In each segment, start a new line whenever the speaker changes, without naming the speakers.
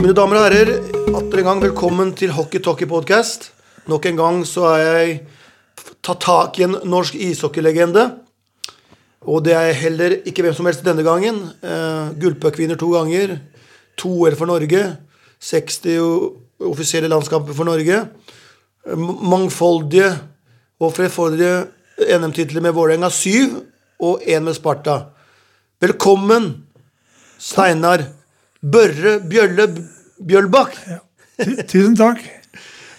Mine damer og herrer, atter en gang velkommen til Hockey Talkie Podcast. Nok en gang så har jeg tatt tak i en norsk ishockeylegende. Og det er heller ikke hvem som helst denne gangen. Eh, Gullpuckvinner to ganger. Toer for Norge. 60 o- offisielle landskamper for Norge. Eh, m- Mangfoldige og flerfoldige NM-titler med Vålerenga 7 og én med Sparta. Velkommen, Steinar Børre Bjølle B- Bjølbakk.
Tu- Tusen takk.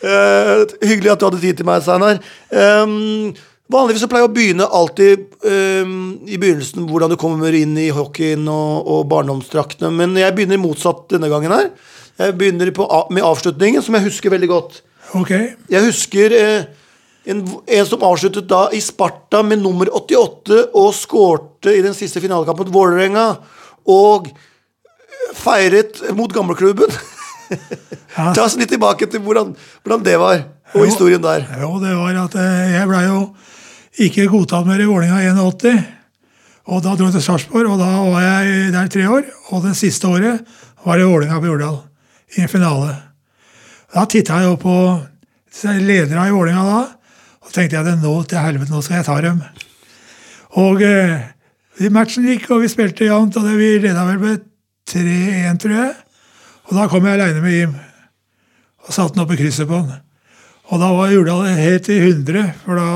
Eh, hyggelig at du hadde tid til meg, Steinar. Ehm, vanligvis så pleier jeg å begynne alltid ehm, i begynnelsen hvordan du kommer inn i hockeyen og, og barndomsdraktene, men jeg begynner motsatt denne gangen her. Jeg begynner på, a- med avslutningen, som jeg husker veldig godt.
Ok.
Jeg husker eh, en, en som avsluttet da i Sparta med nummer 88 og skårte i den siste finalekampen mot Vålerenga. Og eh, feiret mot gamleklubben.
Ja.
Ta oss litt tilbake til hvordan, hvordan det var, og historien der.
Jo, det var at eh, jeg blei jo ikke godtatt mer i Vålerenga i 81. Og da dro jeg til Sarpsborg, og da var jeg der tre år. Og det siste året var det Vålerenga på Jordal, i en finale. Da titta jeg jo på lederne i Vålerenga da, og tenkte jeg at nå til helvete, nå skal jeg ta dem. Og eh, matchen gikk, og vi spilte jevnt, og det, vi leda vel med 3-1, tror jeg. Og da kom jeg aleine med Jim, og satte den opp i krysset på han. Og da var Jordal helt i hundre, for da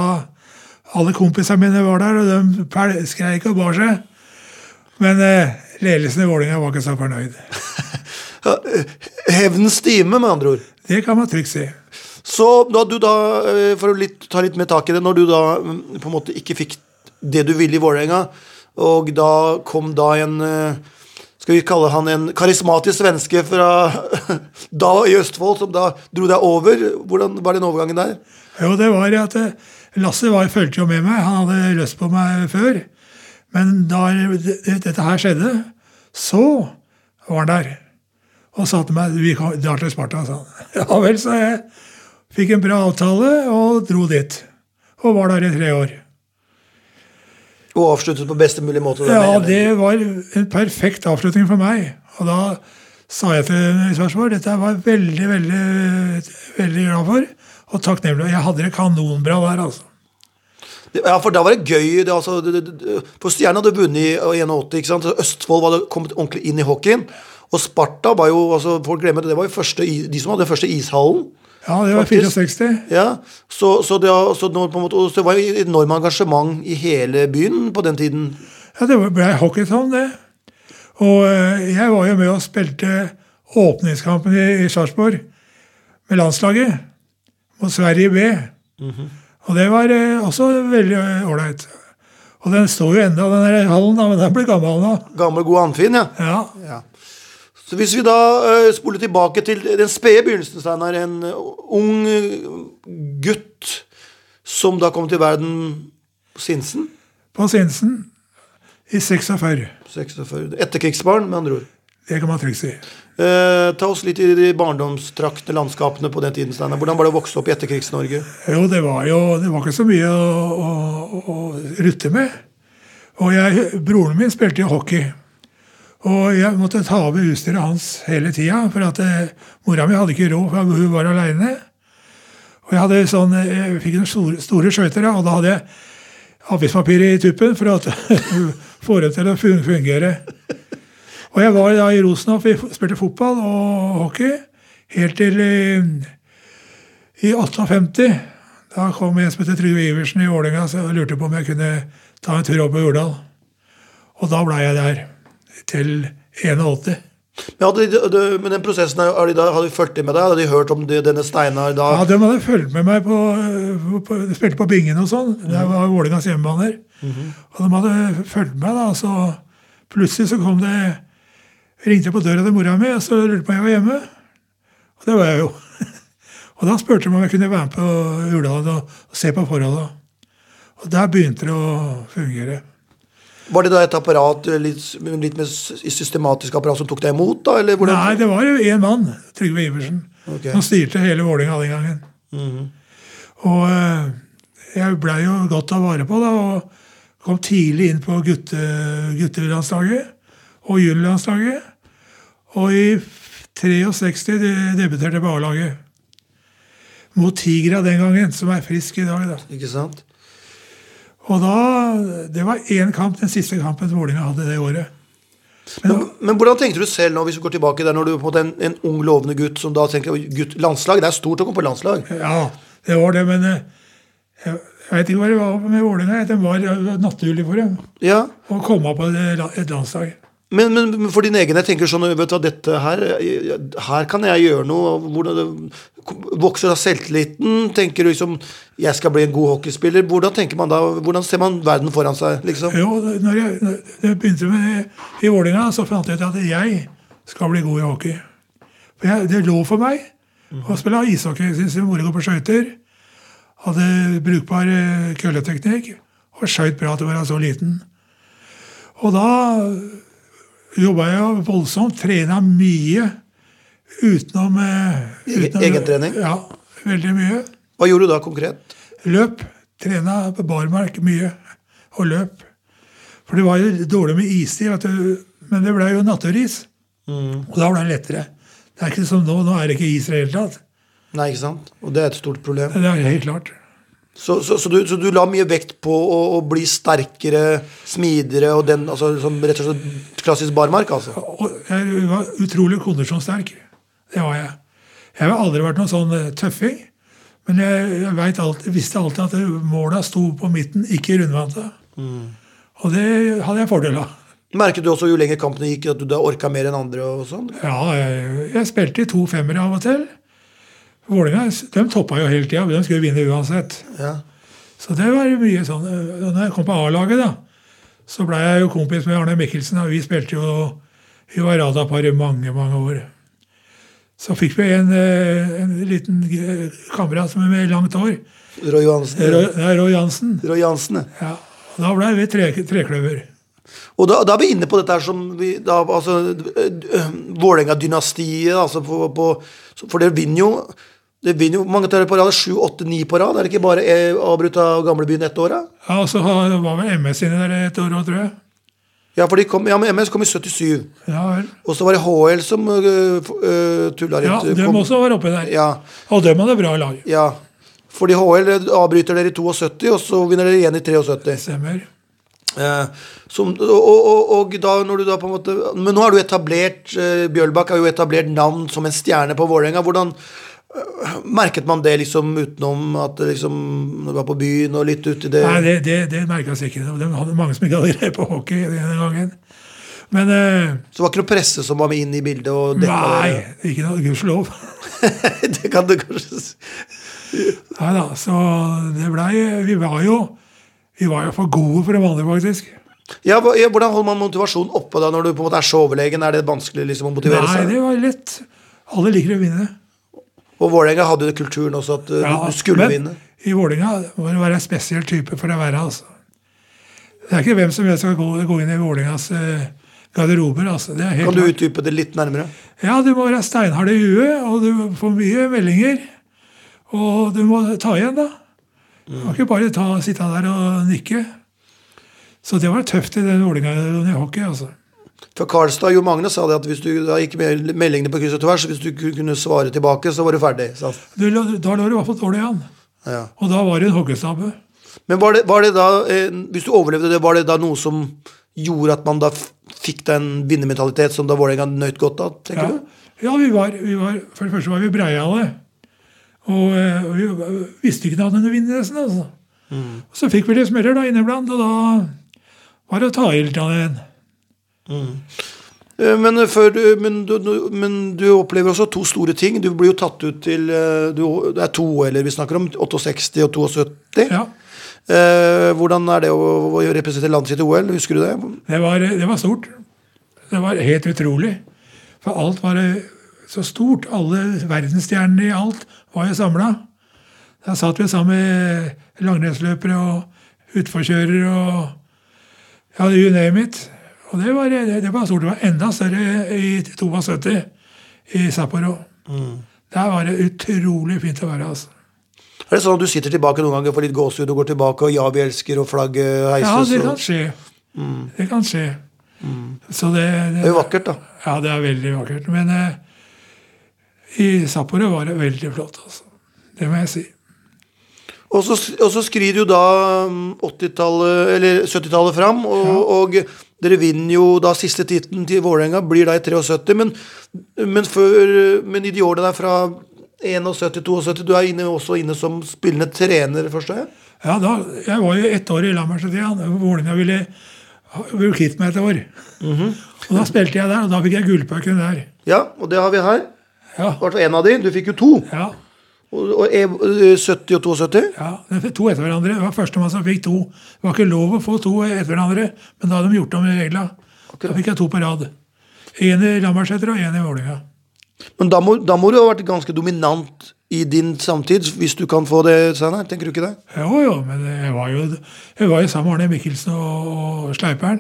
alle kompisene mine var der, og de pel- skreik og bar seg. Men eh, ledelsen i Vålerenga var ikke så fornøyd.
Ja, eh, Hevnens time, med andre ord.
Det kan man trygt si.
Så da du da, eh, for å litt, ta litt mer tak i det, når du da mm, på en måte ikke fikk det du ville i Vålerenga, og da kom da en eh, Skal vi kalle han en karismatisk svenske fra da i Østfold, som da dro deg over? Hvordan var den overgangen der?
Jo, det var at eh, Lasse var, fulgte jo med meg. Han hadde lyst på meg før. Men da det- dette her skjedde, så var han der. Og sa til meg vi kan- drar til Sparta. sa han. Ja vel, sa jeg. Fikk en bra avtale og dro dit. Og var der i tre år.
Og avsluttet på beste mulig måte. der
Ja,
med-
det var en perfekt avslutning for meg. Og da sa jeg til Sarpsborg dette var jeg veldig, veldig, veldig glad for. Og takknemlig. Jeg hadde det kanonbra der, altså.
Ja, for da var det gøy. Det, altså, det, det- det, for Stjernen hadde vunnet i 81. Ikke sant? Så Østfold var da kommet ordentlig inn i hockeyen. Og Sparta var jo altså, folk glemmer det, det var jo første, i- de som hadde den første ishallen.
Ja, det var
Faktisk.
64.
Ja, så, så, det, har- så, nå på en måte, og så det var jo et enormt engasjement i hele byen på den tiden.
Ja, det ble hockeytown, det. Og eh, jeg var jo med og spilte åpningskampen i, i Sarpsborg med landslaget mot Sverige B. Og det var eh, også veldig eh, ålreit. Og den står jo enda, den der hallen, da, men den blir gammel nå.
Gamle, gode Anfinn, ja.
Ja,
ja. Så hvis vi da eh, spoler tilbake til den spede begynnelsen, Steinar. En eh, ung eh, gutt som da kom til verden på Sinsen.
på Sinsen i 46.
46. Etterkrigsbarn, med andre ord.
Det kan man trygt si.
Eh, ta oss litt i de barndomstraktene, landskapene på den tiden. Steinar. Hvordan var det å vokse opp i etterkrigs-Norge?
Jo, det var jo det var ikke så mye å, å, å rutte med. Og jeg, broren min spilte jo hockey. Og jeg måtte ta over utstyret hans hele tida, for at eh, mora mi hadde ikke råd, for hun var aleine. Og jeg hadde sånn, eh, jeg fikk noen store, store skøyter, og da hadde jeg avispapir i tuppen for å få det til å fun- fungere. Og jeg var da i Rosenhoff, vi spilte fotball og hockey, helt til eh, i 58 da kom en som heter Trygve Iversen i Vålerenga så jeg lurte på om jeg kunne ta en tur opp på Jordal. Og da blei jeg der til 81.
Men hadde de, de, men den prosessen, her, har de da, hadde de fulgt det med deg? Hadde de hørt om det, denne Steinar da?
Ja, De hadde fulgt med meg på, på de Spilte på Bingen og sånn. Det var Vålerengas hjemmebaner. Og de hadde fulgt meg, da. Så plutselig så kom det Ringte jeg på døra til mora mi, og så lurte på om jeg var hjemme. Og det var jeg jo. og da spurte de om jeg kunne være med på Jordal og, og se på forholda. Og der begynte det å fungere.
Var det da et apparat, eh, litt, litt mer s- systematisk apparat, som tok deg imot, da? Eller hvordan?
Nei, det var jo én mann, Trygve Iversen,
Ok.
som styrte hele Vålerenga den gangen. Og eh, jeg blei jo godt tatt vare på, da, og kom tidlig inn på gutte, guttelandslaget og juniorlandslaget. Og i f- 63 de- debuterte på A-laget. Mot Tigra den gangen, som er frisk i dag. da.
Ikke sant?
Og da, Det var én kamp, den siste kampen Vålerenga hadde det året. Men,
Men hvordan tenkte du selv nå, hvis du går tilbake der, når du er på en, måte en, en ung, lovende gutt som da tenker «Oi, gutt, landslag, det er stort å komme på landslag.
ja, det var det, men eh, jeg, jeg vet ikke hva det var med Vålerenga. jeg. Det var eh, naturlig for dem
Ja,
å komme på et la- et landslag.
men, men men for din egen, jeg tenker sånn, vet du hva, dette her, eh, her kan jeg gjøre noe, og hvordan det- vokser da selvtilliten, tenker du liksom, jeg skal bli en god hockeyspiller, hvordan tenker man da, hvordan ser man verden foran seg, liksom?
Jo, når jeg, når jeg begynte med det i Vålerenga, så fant jeg ut at jeg skal bli god i hockey. For jeg, Det lå for meg
Mhm.
å spille ishockey. Jeg syntes det var moro å gå på skøyter. Hadde brukbar eh, kølleteknikk og skøyt bra til å være så liten. Og da jobba jeg jo voldsomt, trena mye utenom, eh,
Egen-
utenom
egentrening?
Ja, veldig mye.
Hva gjorde du da konkret?
Løp. Trena på barmark mye. Og løp. For det var jo dårlig med istid, vet du. men det ble jo natturis. Og da ble det lettere. Det er ikke som nå. Nå er det ikke is i det hele tatt.
Nei, ikke sant? Og det er et stort problem.
Det er helt klart.
Så, så, så, du, så du la mye vekt på å, å bli sterkere, smidigere, og den, altså, som rett og slett klassisk barmark, altså?
Og jeg var utrolig kondisjonssterk. Det var jeg. Jeg har aldri vært noen sånn eh, tøffing. Men jeg, jeg vet alltid, visste alltid at måla sto på midten, ikke i rundvanta. Og det hadde jeg fordel av.
Merket du også jo lenger kampene gikk, at du da orka mer enn andre? og sånn?
Ja, jeg, jeg spilte i to femmere av og til. Vålerenga de toppa jo hele tida, de skulle vinne uansett.
Ja.
Så det var jo mye sånn. Og Når jeg kom på A-laget, da, så blei jeg jo kompis med Arne Mikkelsen, og vi spilte jo i Varadaparet i mange, mange år. Så fikk vi en, eh, en liten eh, kamerat som er med langt hår,
Roy Johansen.
Roy, nei, Roy Jansen.
Roy Johansen, ja.
Ja, og da blei vi tre, trekløver.
Og da, da er vi inne på dette her som vi da, altså, øh, øh, Vålerenga-dynastiet, altså på, på For det vinner jo det vinner jo mange tall på rad. Sju, åtte, ni på rad. Er det ikke bare eh, avbrutt av gamlebyen ett år? Da?
Ja, og så har- var vel MS inne der et år òg, tror jeg.
Ja, for de kom, ja, men MS kom i 77.
Ja vel.
Og så var det HL som øh, f- øh, tulla litt.
Ja, dem
kom-
også var oppe der.
Ja,
Og dem hadde bra lag.
ja. Fordi HL avbryter dere i 72, og så vinner dere igjen i 73.
Stemmer.
Eh, som, og, og, og da når du da på en måte Men nå er du etablert eh, Bjølbakk er jo etablert navn som en stjerne på Vålerenga. Hvordan eh, merket man det liksom utenom at det liksom når du var på byen og litt ute i det
Nei, det, det, det merka jeg ikke. De hadde mange som ikke hadde greie på hockey denne gangen. Men eh,
Så det var ikke noe presse som var med inn i bildet? Og dekka
nei, ikke noe gudskjelov.
det, det kan du kanskje si.
Nei da, så det blei Vi var jo vi var jo for gode for det vanlige, faktisk.
Ja, hva- ja, hvordan holder man motivasjonen oppe da når du på en måte er så overlegen? Er det vanskelig liksom å motivere
Nei,
seg?
det var lett. Alle liker å vinne.
Og Vålerenga hadde jo kulturen også at eh,
Ja,
du skulle
men
vinne.
I Vålinga må du være en spesiell type for å være altså. Det er ikke hvem som helst som kan gå, gå inn i Vålingas eh, garderober. altså. Det er helt
Kan du
klart.
utdype det litt nærmere?
Ja, du må være steinhard i huet, og du får mye meldinger. Og du må ta igjen, da. Du kan ikke bare ta, sitte der og nikke. Så det var tøft i den Vålerenga i hockey, altså.
For Karlstad Jo Magne sa det at hvis du da gikk med meldingene på kryss og tvers, hvis du ku- kunne svare tilbake, så var du ferdig. sa han.
Du, lå- da lå du i hvert fall dårlig an.
Ja.
Og da var det en hoggestabbe.
Men var det, var det da, eh, hvis du overlevde det, var det da noe som gjorde at man da f- fikk den vinnermentalitet som da Vålerenga nøt godt av, tenker
Ja,
du?
ja vi, var, vi var For det første var vi breiale. Og eh, vi visste ikke det hadde noe vinn i nesten, altså. Og så fikk vi litt smeller da inniblant, og da var det å ta i litt av den.
Eh, Men, eh, før, du- men, du, du- men du opplever også to store ting. Du blir jo tatt ut til eh, du, Det er to eller vi snakker om. 68 og 72.
Ja,
Eh, hvordan er det å, å representere landet sitt i OL? Husker du det?
Det var, det var stort. Det var helt utrolig. For alt var eh, så stort. Alle verdensstjernene i alt var jo samla. Da satt vi sammen med langrennsløpere og utforkjørere og ja, you name it. Og det var, det, det var stort. Det var enda større i 72 i Sapporo. Mm. Der var det utrolig fint å være. altså.
Er det sånn at du sitter tilbake noen ganger for litt gåsehud og går tilbake og 'ja, vi elsker' og flagget
Ja,
heises?
det
og-
kan skje. Mm. Det kan skje. Så det,
det er jo vakkert, da.
Ja, det er veldig vakkert. Men eh, i Sapporo var det veldig flott. Altså. Det må jeg si.
Og så, og så skrir jo da mm, 80-tallet, eller 70-tallet fram, og, og dere vinner jo da siste tittelen til Vålerenga, blir da i 73, men, men, før, men i de årene der fra 71-72, du er inne, også inne som spillende trener først, er jeg?
Ja, da, Jeg var jo ett år i Lammersedia. Vålerenga ville ville kvitte meg et år. Og Da spilte jeg der, og da fikk jeg gullpucken der.
Ja, og det har vi her. I
Ja,
hvert fall én av de. Du fikk jo to.
ja,
Og, og e- 70 og 72.
ja. Det var To etter hverandre. Det var førstemann som fikk to. Det var ikke lov å få to etter hverandre, men da hadde de gjort om reglene. Da fikk jeg to på rad. Én i Lambertseter og én i Vålerenga.
Men da må, da må du ha vært ganske dominant i din samtid, hvis du kan få det, Steinar. Tenker du ikke det?
Jo, jo, men jeg var jo, jeg var jo sammen med Arne Mikkelsen og og Sleipern.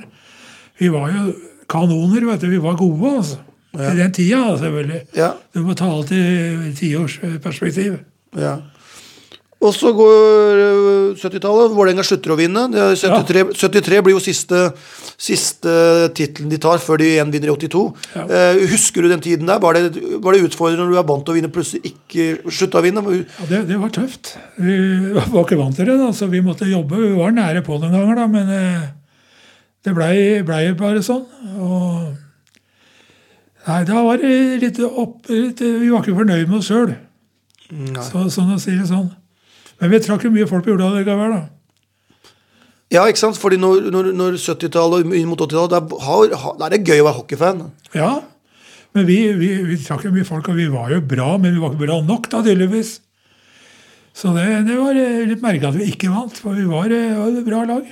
Vi var jo kanoner, vet du. Vi var gode, altså. I den tida, da, selvfølgelig.
Ja.
Du må ta alt i tiårsperspektiv.
Ja. Og så går øh, 70-tallet. Vålerenga slutter å vinne. Det er 73, 73 blir jo siste, siste tittelen de tar før de igjen vinner i 82.
Ja.
Eh, husker du den tiden der? Var det, var det utfordrende når du er vant til å vinne, plutselig ikke slutta å vinne?
Ja, det, det var tøft. Vi var ikke vant til det, da, så vi måtte jobbe. Vi var nære på noen ganger, da, men eh, det blei blei bare sånn. Og Nei, da var det litt opp litt, Vi var ikke fornøyd med oss sjøl, så, sånn å si det sånn. Men vi trakk jo mye folk på jorda likevel, da.
Ja, ikke sant? Fordi når, når, når 70-tallet og inn mot 80-tallet, da, har- ha- da er det gøy å være hockeyfan.
Ja. Men vi, vi, vi trakk jo mye folk, og vi var jo bra, men vi var ikke bra nok, da, tydeligvis. Så det, det var eh, litt merka at vi ikke vant, for vi var, eh, var et bra lag.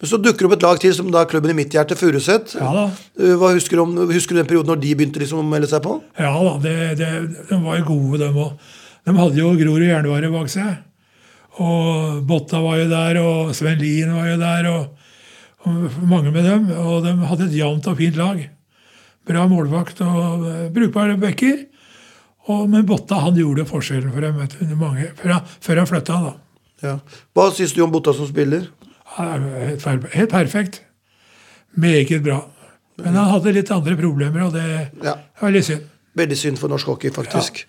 Men så dukker det opp et lag til, som da er klubben i mitt hjerte, Furuset.
Ja da.
Eh, Hva husker, du om, husker du den perioden når de begynte liksom å melde seg på?
Ja da, det, det, de var jo gode, de òg. De hadde jo Grorud Jernvare bak seg. Og Botta var jo der, og Sven Lien var jo der, og, og mange med dem. Og de hadde et jevnt og fint lag. Bra målvakt og eh, brukbare backer. Og, men Botta han gjorde forskjellen for dem vet du, under mange, før han, før han flytta. da.
Ja. Hva syns du om Botta som spiller?
Han er jo Helt, per- helt perfekt. Meget bra. Men han hadde litt andre problemer, og det
Ja.
var litt synd.
Veldig synd for norsk hockey, faktisk.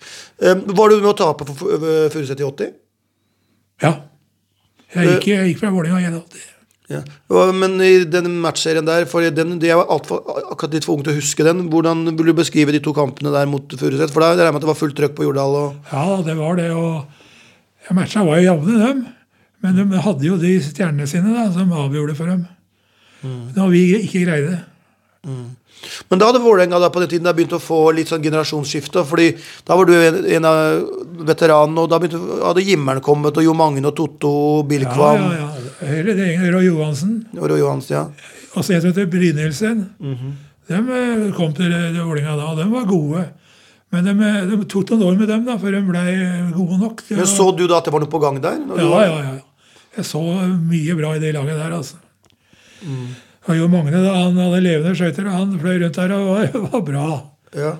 Eh, var du med å tape for Fu- eh, Furuset i 80?
Ja. Jeg gikk, jeg gikk fra Vålerenga igjen. alltid.
Ja. Og- Men i den matchserien der, for den, de er alt for, akkurat litt for ung til å huske den. Hvordan vil du beskrive de to kampene der mot Furuset? For da regner jeg med at det var fullt trøkk på Jordal. Og,
Ja, det var det. Og ja, matcha var jo jevne, dem. Men de hadde jo de stjernene sine da, som avgjorde for dem. Når vi ikke greide det.
men da hadde Vålerenga da på den tiden da begynt å få litt sånn generasjonsskifte. fordi da var du en, en av veteranene, og da begynte, hadde Jimmern kommet, og Jo Magne og Totto og Bill
Ja,
Kvam
ja, ja. Hele det gjengen, Roy Johansen
og Roy Johansen. Ja.
og så en som heter Brynildsen. De eh, kom til eh, Vålinga da, og de var gode. Men de, eh, det tok noen år med dem da, før de ble eh, gode nok. til
Men
å-
så du da at det var noe på gang der? når du
Ja,
var-
ja, ja. Jeg så mye bra i det laget der, altså. Og Jo Magne da, han hadde levende skøyter, og han fløy rundt der og var, var bra.
ja.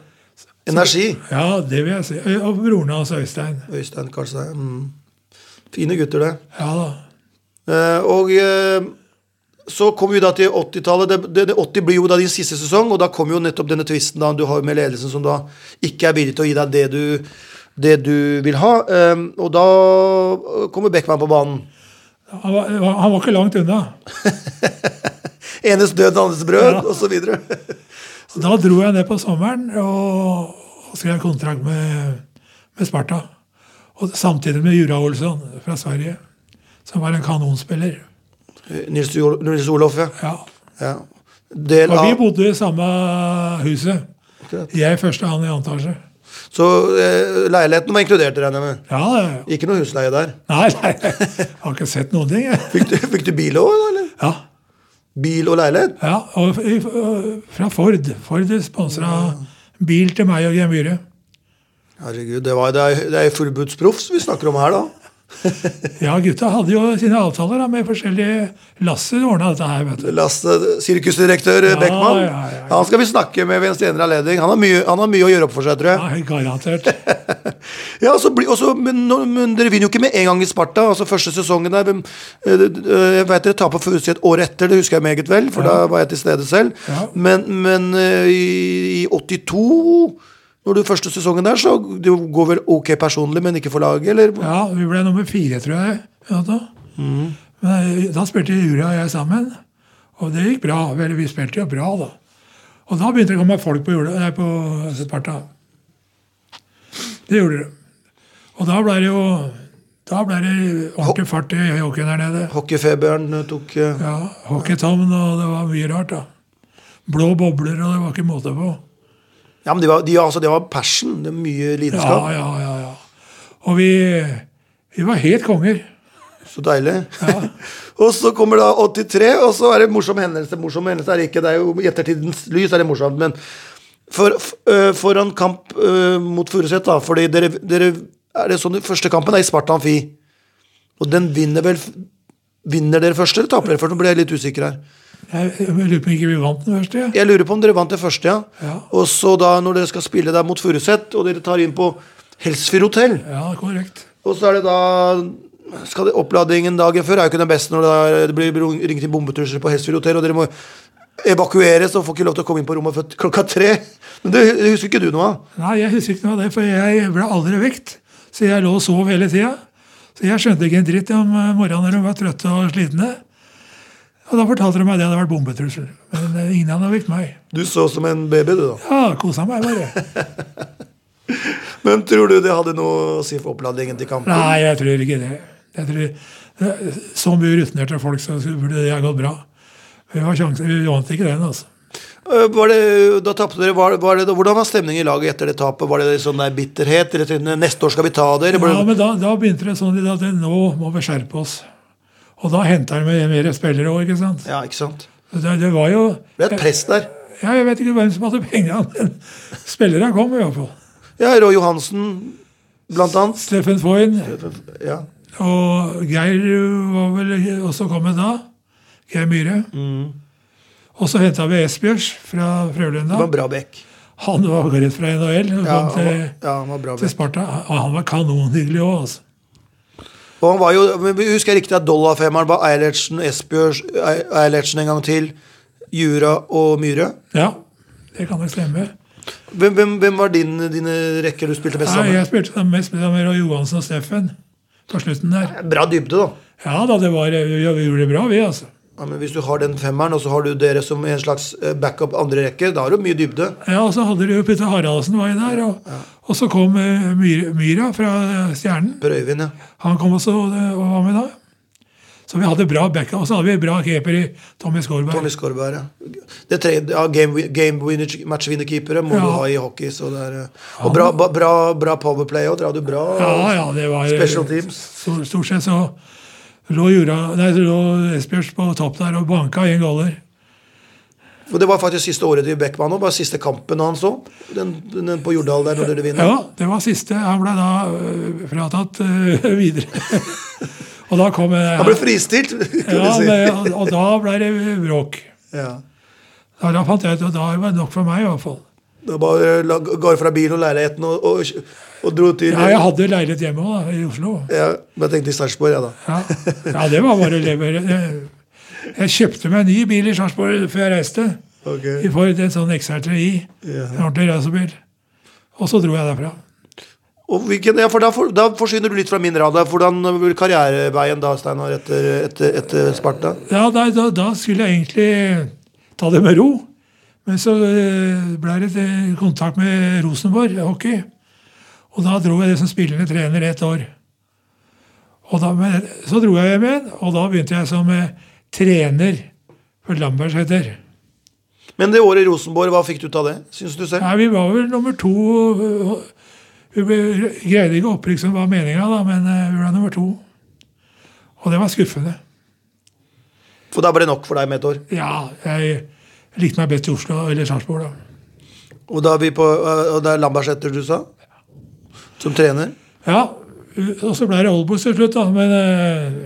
Energi.
Ja, det vil jeg si. Og broren hans, Øystein.
Øystein Karlstein. Mm. Fine gutter, det.
Ja da.
Eh, og eh, så kom vi da til 80-tallet. Det, det, det 80 blir jo da din siste sesong, og da kom jo nettopp denne tvisten da du har med ledelsen som da ikke er villig til å gi deg det du, det du vil ha. Eh, og da eh, kommer Beckman på banen.
Han var, han var ikke langt unna.
Enes død, andres brød,
Ja.
og osv. videre
Da dro jeg ned på sommeren og, og skrev kontrakt med, med Sparta. Og samtidig med Jura Olsson fra Sverige, som var en kanonspiller.
Eh, Nils, Jo- Nils Olof, ja.
Ja.
ja. Del
Og vi
av
bodde i samme huset.
Akkurat.
Jeg første, han i andre etasje.
Så eh, leiligheten var inkludert, regner jeg med.
Ja, det
Ikke noe husleie der.
Nei, nei, jeg har ikke sett noen ting. jeg.
Fikk du, fikk du bil òg, eller?
Ja,
Bil og leilighet?
ja og i- og fra Ford. Ford sponsa bil til meg og Jan Myhre.
Herregud, det, var, det er, det er fullbudsproffs vi snakker om her, da.
Ja, gutta hadde jo sine avtaler da, med forskjellige Lasse ordna dette her, vet du.
Lasse, sirkusdirektør eh,
Ja,
Beckman.
ja, ja, ja.
Han skal vi snakke med ved en senere anledning. Han har mye, han har mye å gjøre opp for seg, tror jeg.
Ja, garantert.
Ja, så blir- og så- men, nå- men dere vinner jo ikke med en gang i Sparta. altså Første sesongen der hvem- eh, eh, Jeg vet dere taper for Furuset et år etter, det husker jeg meget vel, for da var jeg til stede selv.
Ja.
Men, men eh, i, i 82 Når du første sesongen der, så du går vel ok personlig, men ikke for laget, eller?
Ja, vi ble nummer fire, tror jeg. eller noe sånt. Men eh, da spilte Juri og jeg sammen, og det gikk bra. Vel, vi spilte jo bra, da. Og da begynte det å komme folk på, jule, nei, på Sparta. Det gjorde det. Og da ble det jo da ble det ordentlig fart i hockeyen her nede.
Hockeyfeberen eh, tok eh,
Ja, Hockeytown, og det var mye rart, da. Blå bobler, og det var ikke måte på.
Ja, men det var, de, altså, det var passion. Det er mye lidenskap.
Ja, ja, ja. ja. Og vi, vi var helt konger.
Så deilig. og så kommer da 83, og så er det morsom hendelse. Morsom hendelse er det ikke, det er jo i ettertidens lys er det morsomt, men for, f- øh, foran kamp øh, mot Furuset, da, fordi dere, dere er det sånn, den første kampen er i Sparta Amfi, og den vinner vel Vinner dere først, eller taper dere først? Nå ble jeg litt usikker her.
Jeg, jeg lurer på om ikke vi vant den første. Ja.
Jeg lurer på om dere vant det første, ja.
Ja.
Og så da, når dere skal spille der mot Furuset, og dere tar inn på Helsfyr hotell,
ja, korrekt.
Og så er det da skal det, Oppladningen dagen før er jo ikke den beste når det, er, det blir ro- ringt inn bombetrusler på Helsfyr hotell, og dere må evakueres og får ikke lov til å komme inn på rommet før klokka tre. Men det, det husker ikke du noe av?
Nei, jeg husker ikke noe av det, for jeg ble aldri vekt. Så jeg lå og sov hele tida. Så jeg skjønte ikke en dritt om eh, morgenen når de var trøtte og slitne. Og da fortalte de meg det hadde vært bombetrusler. Men eh, ingen hadde vekt meg.
Du så som en baby, du, da.
Ja, kosa meg bare.
Men tror du det hadde noe å si for oppladningen til kampen?
Nei, jeg tror ikke det. Jeg tror, så mye rutinerte folk, så burde det ha gått bra. Vi, var sjanse, vi vant ikke den, altså.
Øh, Var det, da tapte dere, var, var det, hvordan var stemningen i laget etter det tapet? Var det sånn der bitterhet? Eller sånn, Neste år skal vi ta det? Eller
Ja,
ble,
men da, da begynte det sånn at det- nå må vi skjerpe oss. Og da henta de med mer spillere òg, ikke sant.
ja, ikke sant?
Det, det var jo
Det ble et press der.
ja, Jeg vet ikke hvem som hadde penga, men spillerne kom i hvert fall.
Ja, Roy Johansen, blant annet.
Steffen Foyn
Ja.
og Geir var vel også kommet da. Geir Myhre.
Mm.
Og så henta vi Esbjørns fra
Det var
Frølunda.
en bra bekk.
Han var rett fra NHL. Han
Ja, han var,
kom Sånn til,
ja, han var bra
til
bekk.
Sparta. Og han var kanonhyggelig òg, altså.
Og han var jo, men vi Husker jeg riktig at dollarfemmeren var Eilertsen, Esbjørs, Ei- Eilertsen en gang til, Jura og Myhre?
Ja, det kan nok stemme.
Hvem, hvem, hvem var din, dine rekker du spilte mest
Nei,
sammen?
jeg spilte sammen mest med Roy Johansen og Steffen på slutten der.
Bra dybde, da.
Ja da, det var, vi vi gjorde det bra, vi, altså.
Ja, men Hvis du har den femmeren, og så har du dere som en slags eh, backup andre rekke, da har du mye dybde.
Ja, og Så hadde du jo Putte Haraldsen var jo der, og, og så kom eh, Myhre- Myhra fra eh, Stjernen.
Per Øyvind, ja.
Han kom også eh, og var med da. Så vi hadde bra backup, og så hadde vi bra keeper i Tommy Skårberg.
Tommy Skorberg, ja. Det tre, ja game, wi- game winner, matchvinnerkeepere må
Ja.
du ha i hockey. Så det er, eh, og bra, ba- bra, bra powerplay òg. Dere hadde jo bra
Ja, ja, det var
special teams.
Stort, stort sett så lå, Jura- nei, så lå Esbjørns på topp der og banka én goller.
Og Det var faktisk siste året til Beckman òg, bare siste kampen hans òg. Den, den på Jordal der, når dere vinner.
Ja, det var siste. Han ble da øh, fratatt øh, videre. og da kom øh,
Han ble fristilt, kan
ja,
du si.
men, og, og da ble det bråk.
Ja.
Da, da fant jeg ut at da var det nok for meg, i hvert fall.
Da bare la- ga fra bilen og leiligheten og, og, og dro til
Ja, jeg hadde leilighet hjemme òg, i Oslo.
Ja, men jeg tenkte i Sarpsborg, jeg, da.
Ja. ja, det var bare å levere. Jeg- Jeg kjøpte meg en ny bil i Sarpsborg før jeg reiste.
Ok.
I Ford, en sånn XR3i.
Ja.
En ordentlig racerbil. Og så dro jeg derfra.
Og hvilken, ja, for da, for, da forsvinner du litt fra min radar. Hvordan vil karriereveien da, Steinar, etter, etter, etter Sparta?
Ja, da, da, da skulle jeg egentlig ta det med ro. Men så eh, ble det eh, kontakt med Rosenborg hockey. Og da dro jeg det som spillende trener ett år. Og da, men, så dro jeg hjem igjen, og da begynte jeg som eh, trener for Lambertseter.
Men det året i Rosenborg, hva fikk du ut av det, syns du selv?
Nei, vi var vel nummer to eh, Vi ble, greide ikke opprykk som var meninga, da, men eh, vi ble nummer to. Og det var skuffende.
For da ble det nok for deg med et år.
Ja, jeg likte meg best i Oslo eller Sarpsborg, da.
Og da er vi på, eh, og det er Lambertseter du sa? Som trener?
Ja, og så ble det Olbos til slutt, da. Men uh,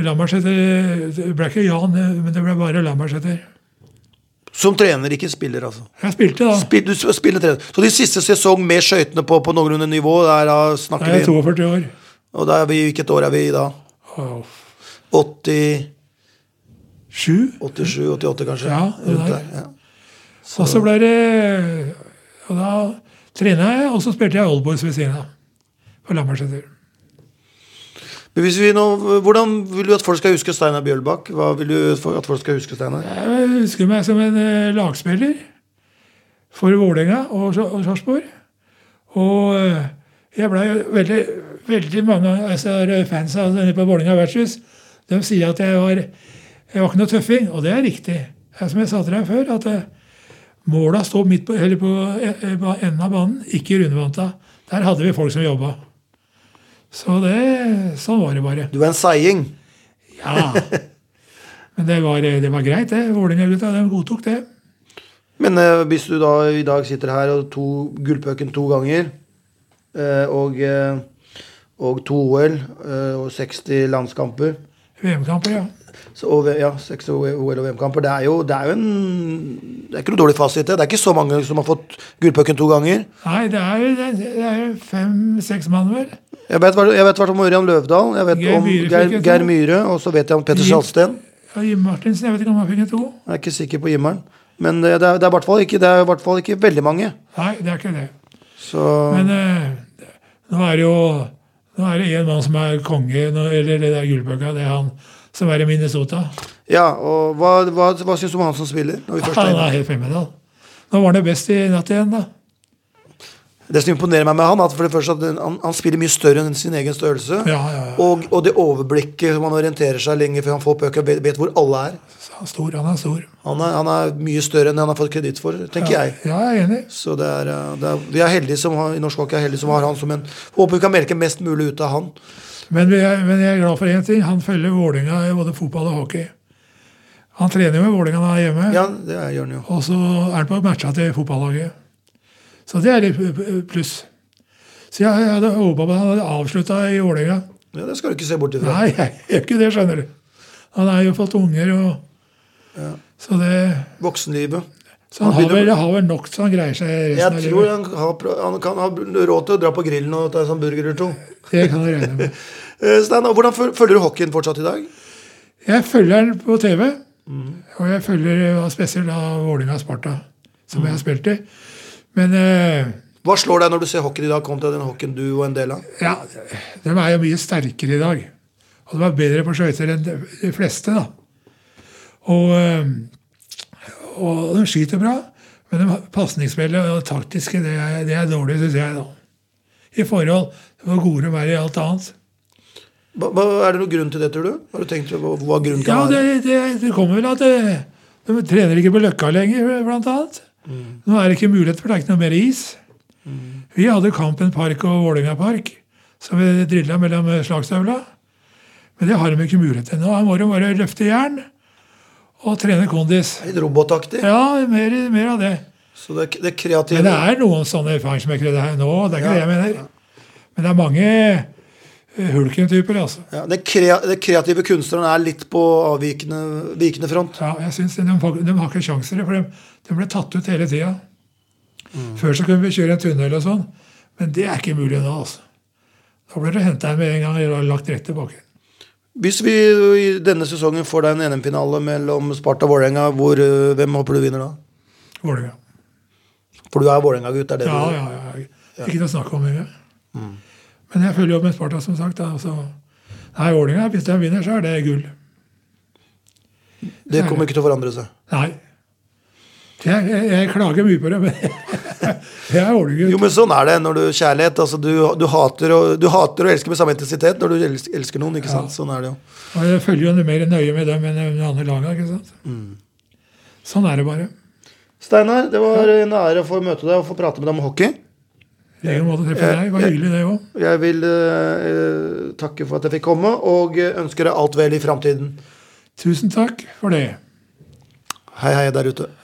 Lambertseter Det ble ikke Jan, eh, men det ble bare Lambertseter.
Som trener, ikke spiller, altså.
Jeg spilte, da.
Spill, du s- spiller trener. Så de siste sesong med skøytene på, på noenlunde nivå, der da
Da
snakker
er jeg
vi
42 år.
Og da er vi, hvilket år er vi i da?
Åh,
80
Sju.
87-88, kanskje?
Ja, det
Rundt
der.
der. Ja.
Og så ble det Og da trena jeg, og så spilte jeg oldboys ved siden av. På Lambertseter.
Men hvis vi nå, hvordan vil du at folk skal huske Steinar Bjølbakk? Hva vil du at folk skal huske Steinar?
Jeg husker meg som en eh, lagspiller for Vålerenga og Sar- og Sarpsborg. Og eh, jeg blei veldig Veldig mange av disse her fans av denne på Vålerenga vertshus de sier at jeg var, jeg var ikke noe tøffing, og det er riktig. Det er som jeg sa til deg før, at eh, måla står midt på, eller på eh, eh, ba- enden av banen, ikke i rundvanta. Der hadde vi folk som jobba. Så det, sånn var det bare.
Du er en seiing.
Ja. Men det var, det var greit, det. Vålerenga-gutta de godtok det.
Men eh, hvis du da i dag sitter her og to gullpøken to ganger, eh, og, eh, og to OL eh, og 60 landskamper
VM-kamper, ja.
så, og, V- ja, 60 OL og VM-kamper. Det er jo det er jo en Det er ikke noe dårlig fasit. Det Det er ikke så mange som har fått gullpucken to ganger.
Nei, det er, det- det er fem-seks mann, vel.
Jeg vet, hva- jeg vet hvert om Ørjan Løvdahl, jeg vet
Geir
om
Myhre fikk
Geir,
en to.
Geir Myhre, og så vet jeg om Petter
Jim-
Sjalsten.
Ja, Jim Martinsen, jeg vet ikke om han fikk en to.
Jeg er ikke sikker på himmelen. Men eh, det, det, er, det, er i hvert fall ikke, det er i hvert fall ikke veldig mange.
Nei, det er ikke det.
Så
Men eh, nå er det jo nå er det én mann som er konge, nå, eller det der gullbøka, det er han som er i Minnesota.
Ja, og hva, hva, hva syns du om han som spiller? Når vi først er
Han
inne?
er helt fenomenal. Nå var han jo best i natt igjen, da.
Det som imponerer meg med han, er at for det første at den- han, han spiller mye større enn sin egen størrelse.
Ja, ja, ja.
Og, og det overblikket som han orienterer seg lenge før han får pucken, vet, vet hvor alle er.
Så han er stor, han er stor.
Han er, han er mye større enn han har fått kreditt for, tenker jeg.
Ja, jeg er enig.
Så det er, eh, det er, vi er heldige som har, i norsk hockey er heldige som har han som en Håper vi kan melke mest mulig ut av han.
Men, vi er, men jeg er glad for én ting. Han følger Vålerenga i både fotball og hockey. Han trener jo med Vålerenga når han er hjemme,
Ja, det er- gjør han jo.
og så er han på matcha til fotballaget. Så det er litt pluss. Så jeg, jeg hadde håpa på at han hadde avslutta i Vålerenga.
Ja, det skal du ikke se bort ifra.
Nei, jeg gjør ikke det, skjønner du. Han har jo fått unger og Så det
Voksenlivet.
så han,
Han
har
begynner-
vel, har vel nok så han greier seg resten
Jeg tror
livet.
han, har, pro- han kan ha råd til å dra på grillen og ta en sånn burger eller to.
Det kan jeg regne med.
Eh, Stein, og hvordan føl- følger du hockeyen fortsatt i dag?
Jeg følger han på TV, og jeg følger eh, spesielt da Vålerenga og Sparta, som jeg har spilt i. Men eh,
Hva slår deg når du ser hockeyen i dag kontra den hockeyen du var en del av?
ja, de er jo mye sterkere i dag. Og de er bedre på skøyter enn de de fleste, da. Og, eh, og de skyter bra, men de pasningsspillet og det taktiske, det er, det er dårlig, syns jeg, da. I forhold til hvor gode de er i alt annet.
Hva, hva, er det noen grunn til det, tror du? Har du tenkt hva, hva grunnen
Ja,
kan være?
det, det, det kommer vel at eh, de trener ikke på Løkka lenger, blant annet. Nå er det ikke mulighet for det er ikke noe mer is. Vi hadde Kampen park og Vålerenga park, som vi drilla mellom slagstøvla. Men det har de ikke mulighet til nå. Her må de bare løfte jern og trene kondis.
Litt robotaktig.
Ja, mer, mer av det.
Så det, er- det er kreative
Men det er noen sånne fangsmekkere der nå, det er ikke det
Ja.
jeg mener. Men det er mange eh, hulken-typer, altså.
ja, det, krea, det kreative kunstneren er litt på avvikende vikende front.
Ja, jeg synes det. de, får- de har ikke sjanser, for de, de ble tatt ut hele tida.
Mm.
Før så kunne vi kjøre en tunnel og sånn, men det er ikke mulig nå. altså. Da ble det henta en med en gang og lagt rett tilbake.
Hvis vi ø, i denne sesongen får deg en NM-finale mellom Sparta og Vålerenga, hvor, ø, hvem håper du vinner da?
Vålerenga.
For du er Vålerenga-gutt, det Mm. er det
Ja,
du
ja, ja. Ikke noe snakk om engang. Men jeg følger jo opp med Sparta, som sagt. Da, så. Nei, Vålerenga, hvis de vinner, så er det gull.
Det kommer ikke til å forandre seg.
Nei. Jeg, jeg, jeg klager mye på det, men jeg er Vålerenga.
Jo, men sånn er det når du kjærlighet. Altså, du, du, hater og, du hater og elsker med samme intensitet når du elsker, elsker noen. ikke sant? Sånn er det jo.
Og jeg følger jo mer nøye med dem enn de andre lagene. ikke sant?
Mm.
Sånn er det bare.
Steinar, det var en ære å få møte deg og få prate med deg om hockey.
I egen måte å treffe deg. Det var hyggelig, det òg.
Jeg vil eh, takke for at jeg fikk komme, og eh, ønsker deg alt vel i framtiden.
Tusen takk for det.
Hei, hei der ute.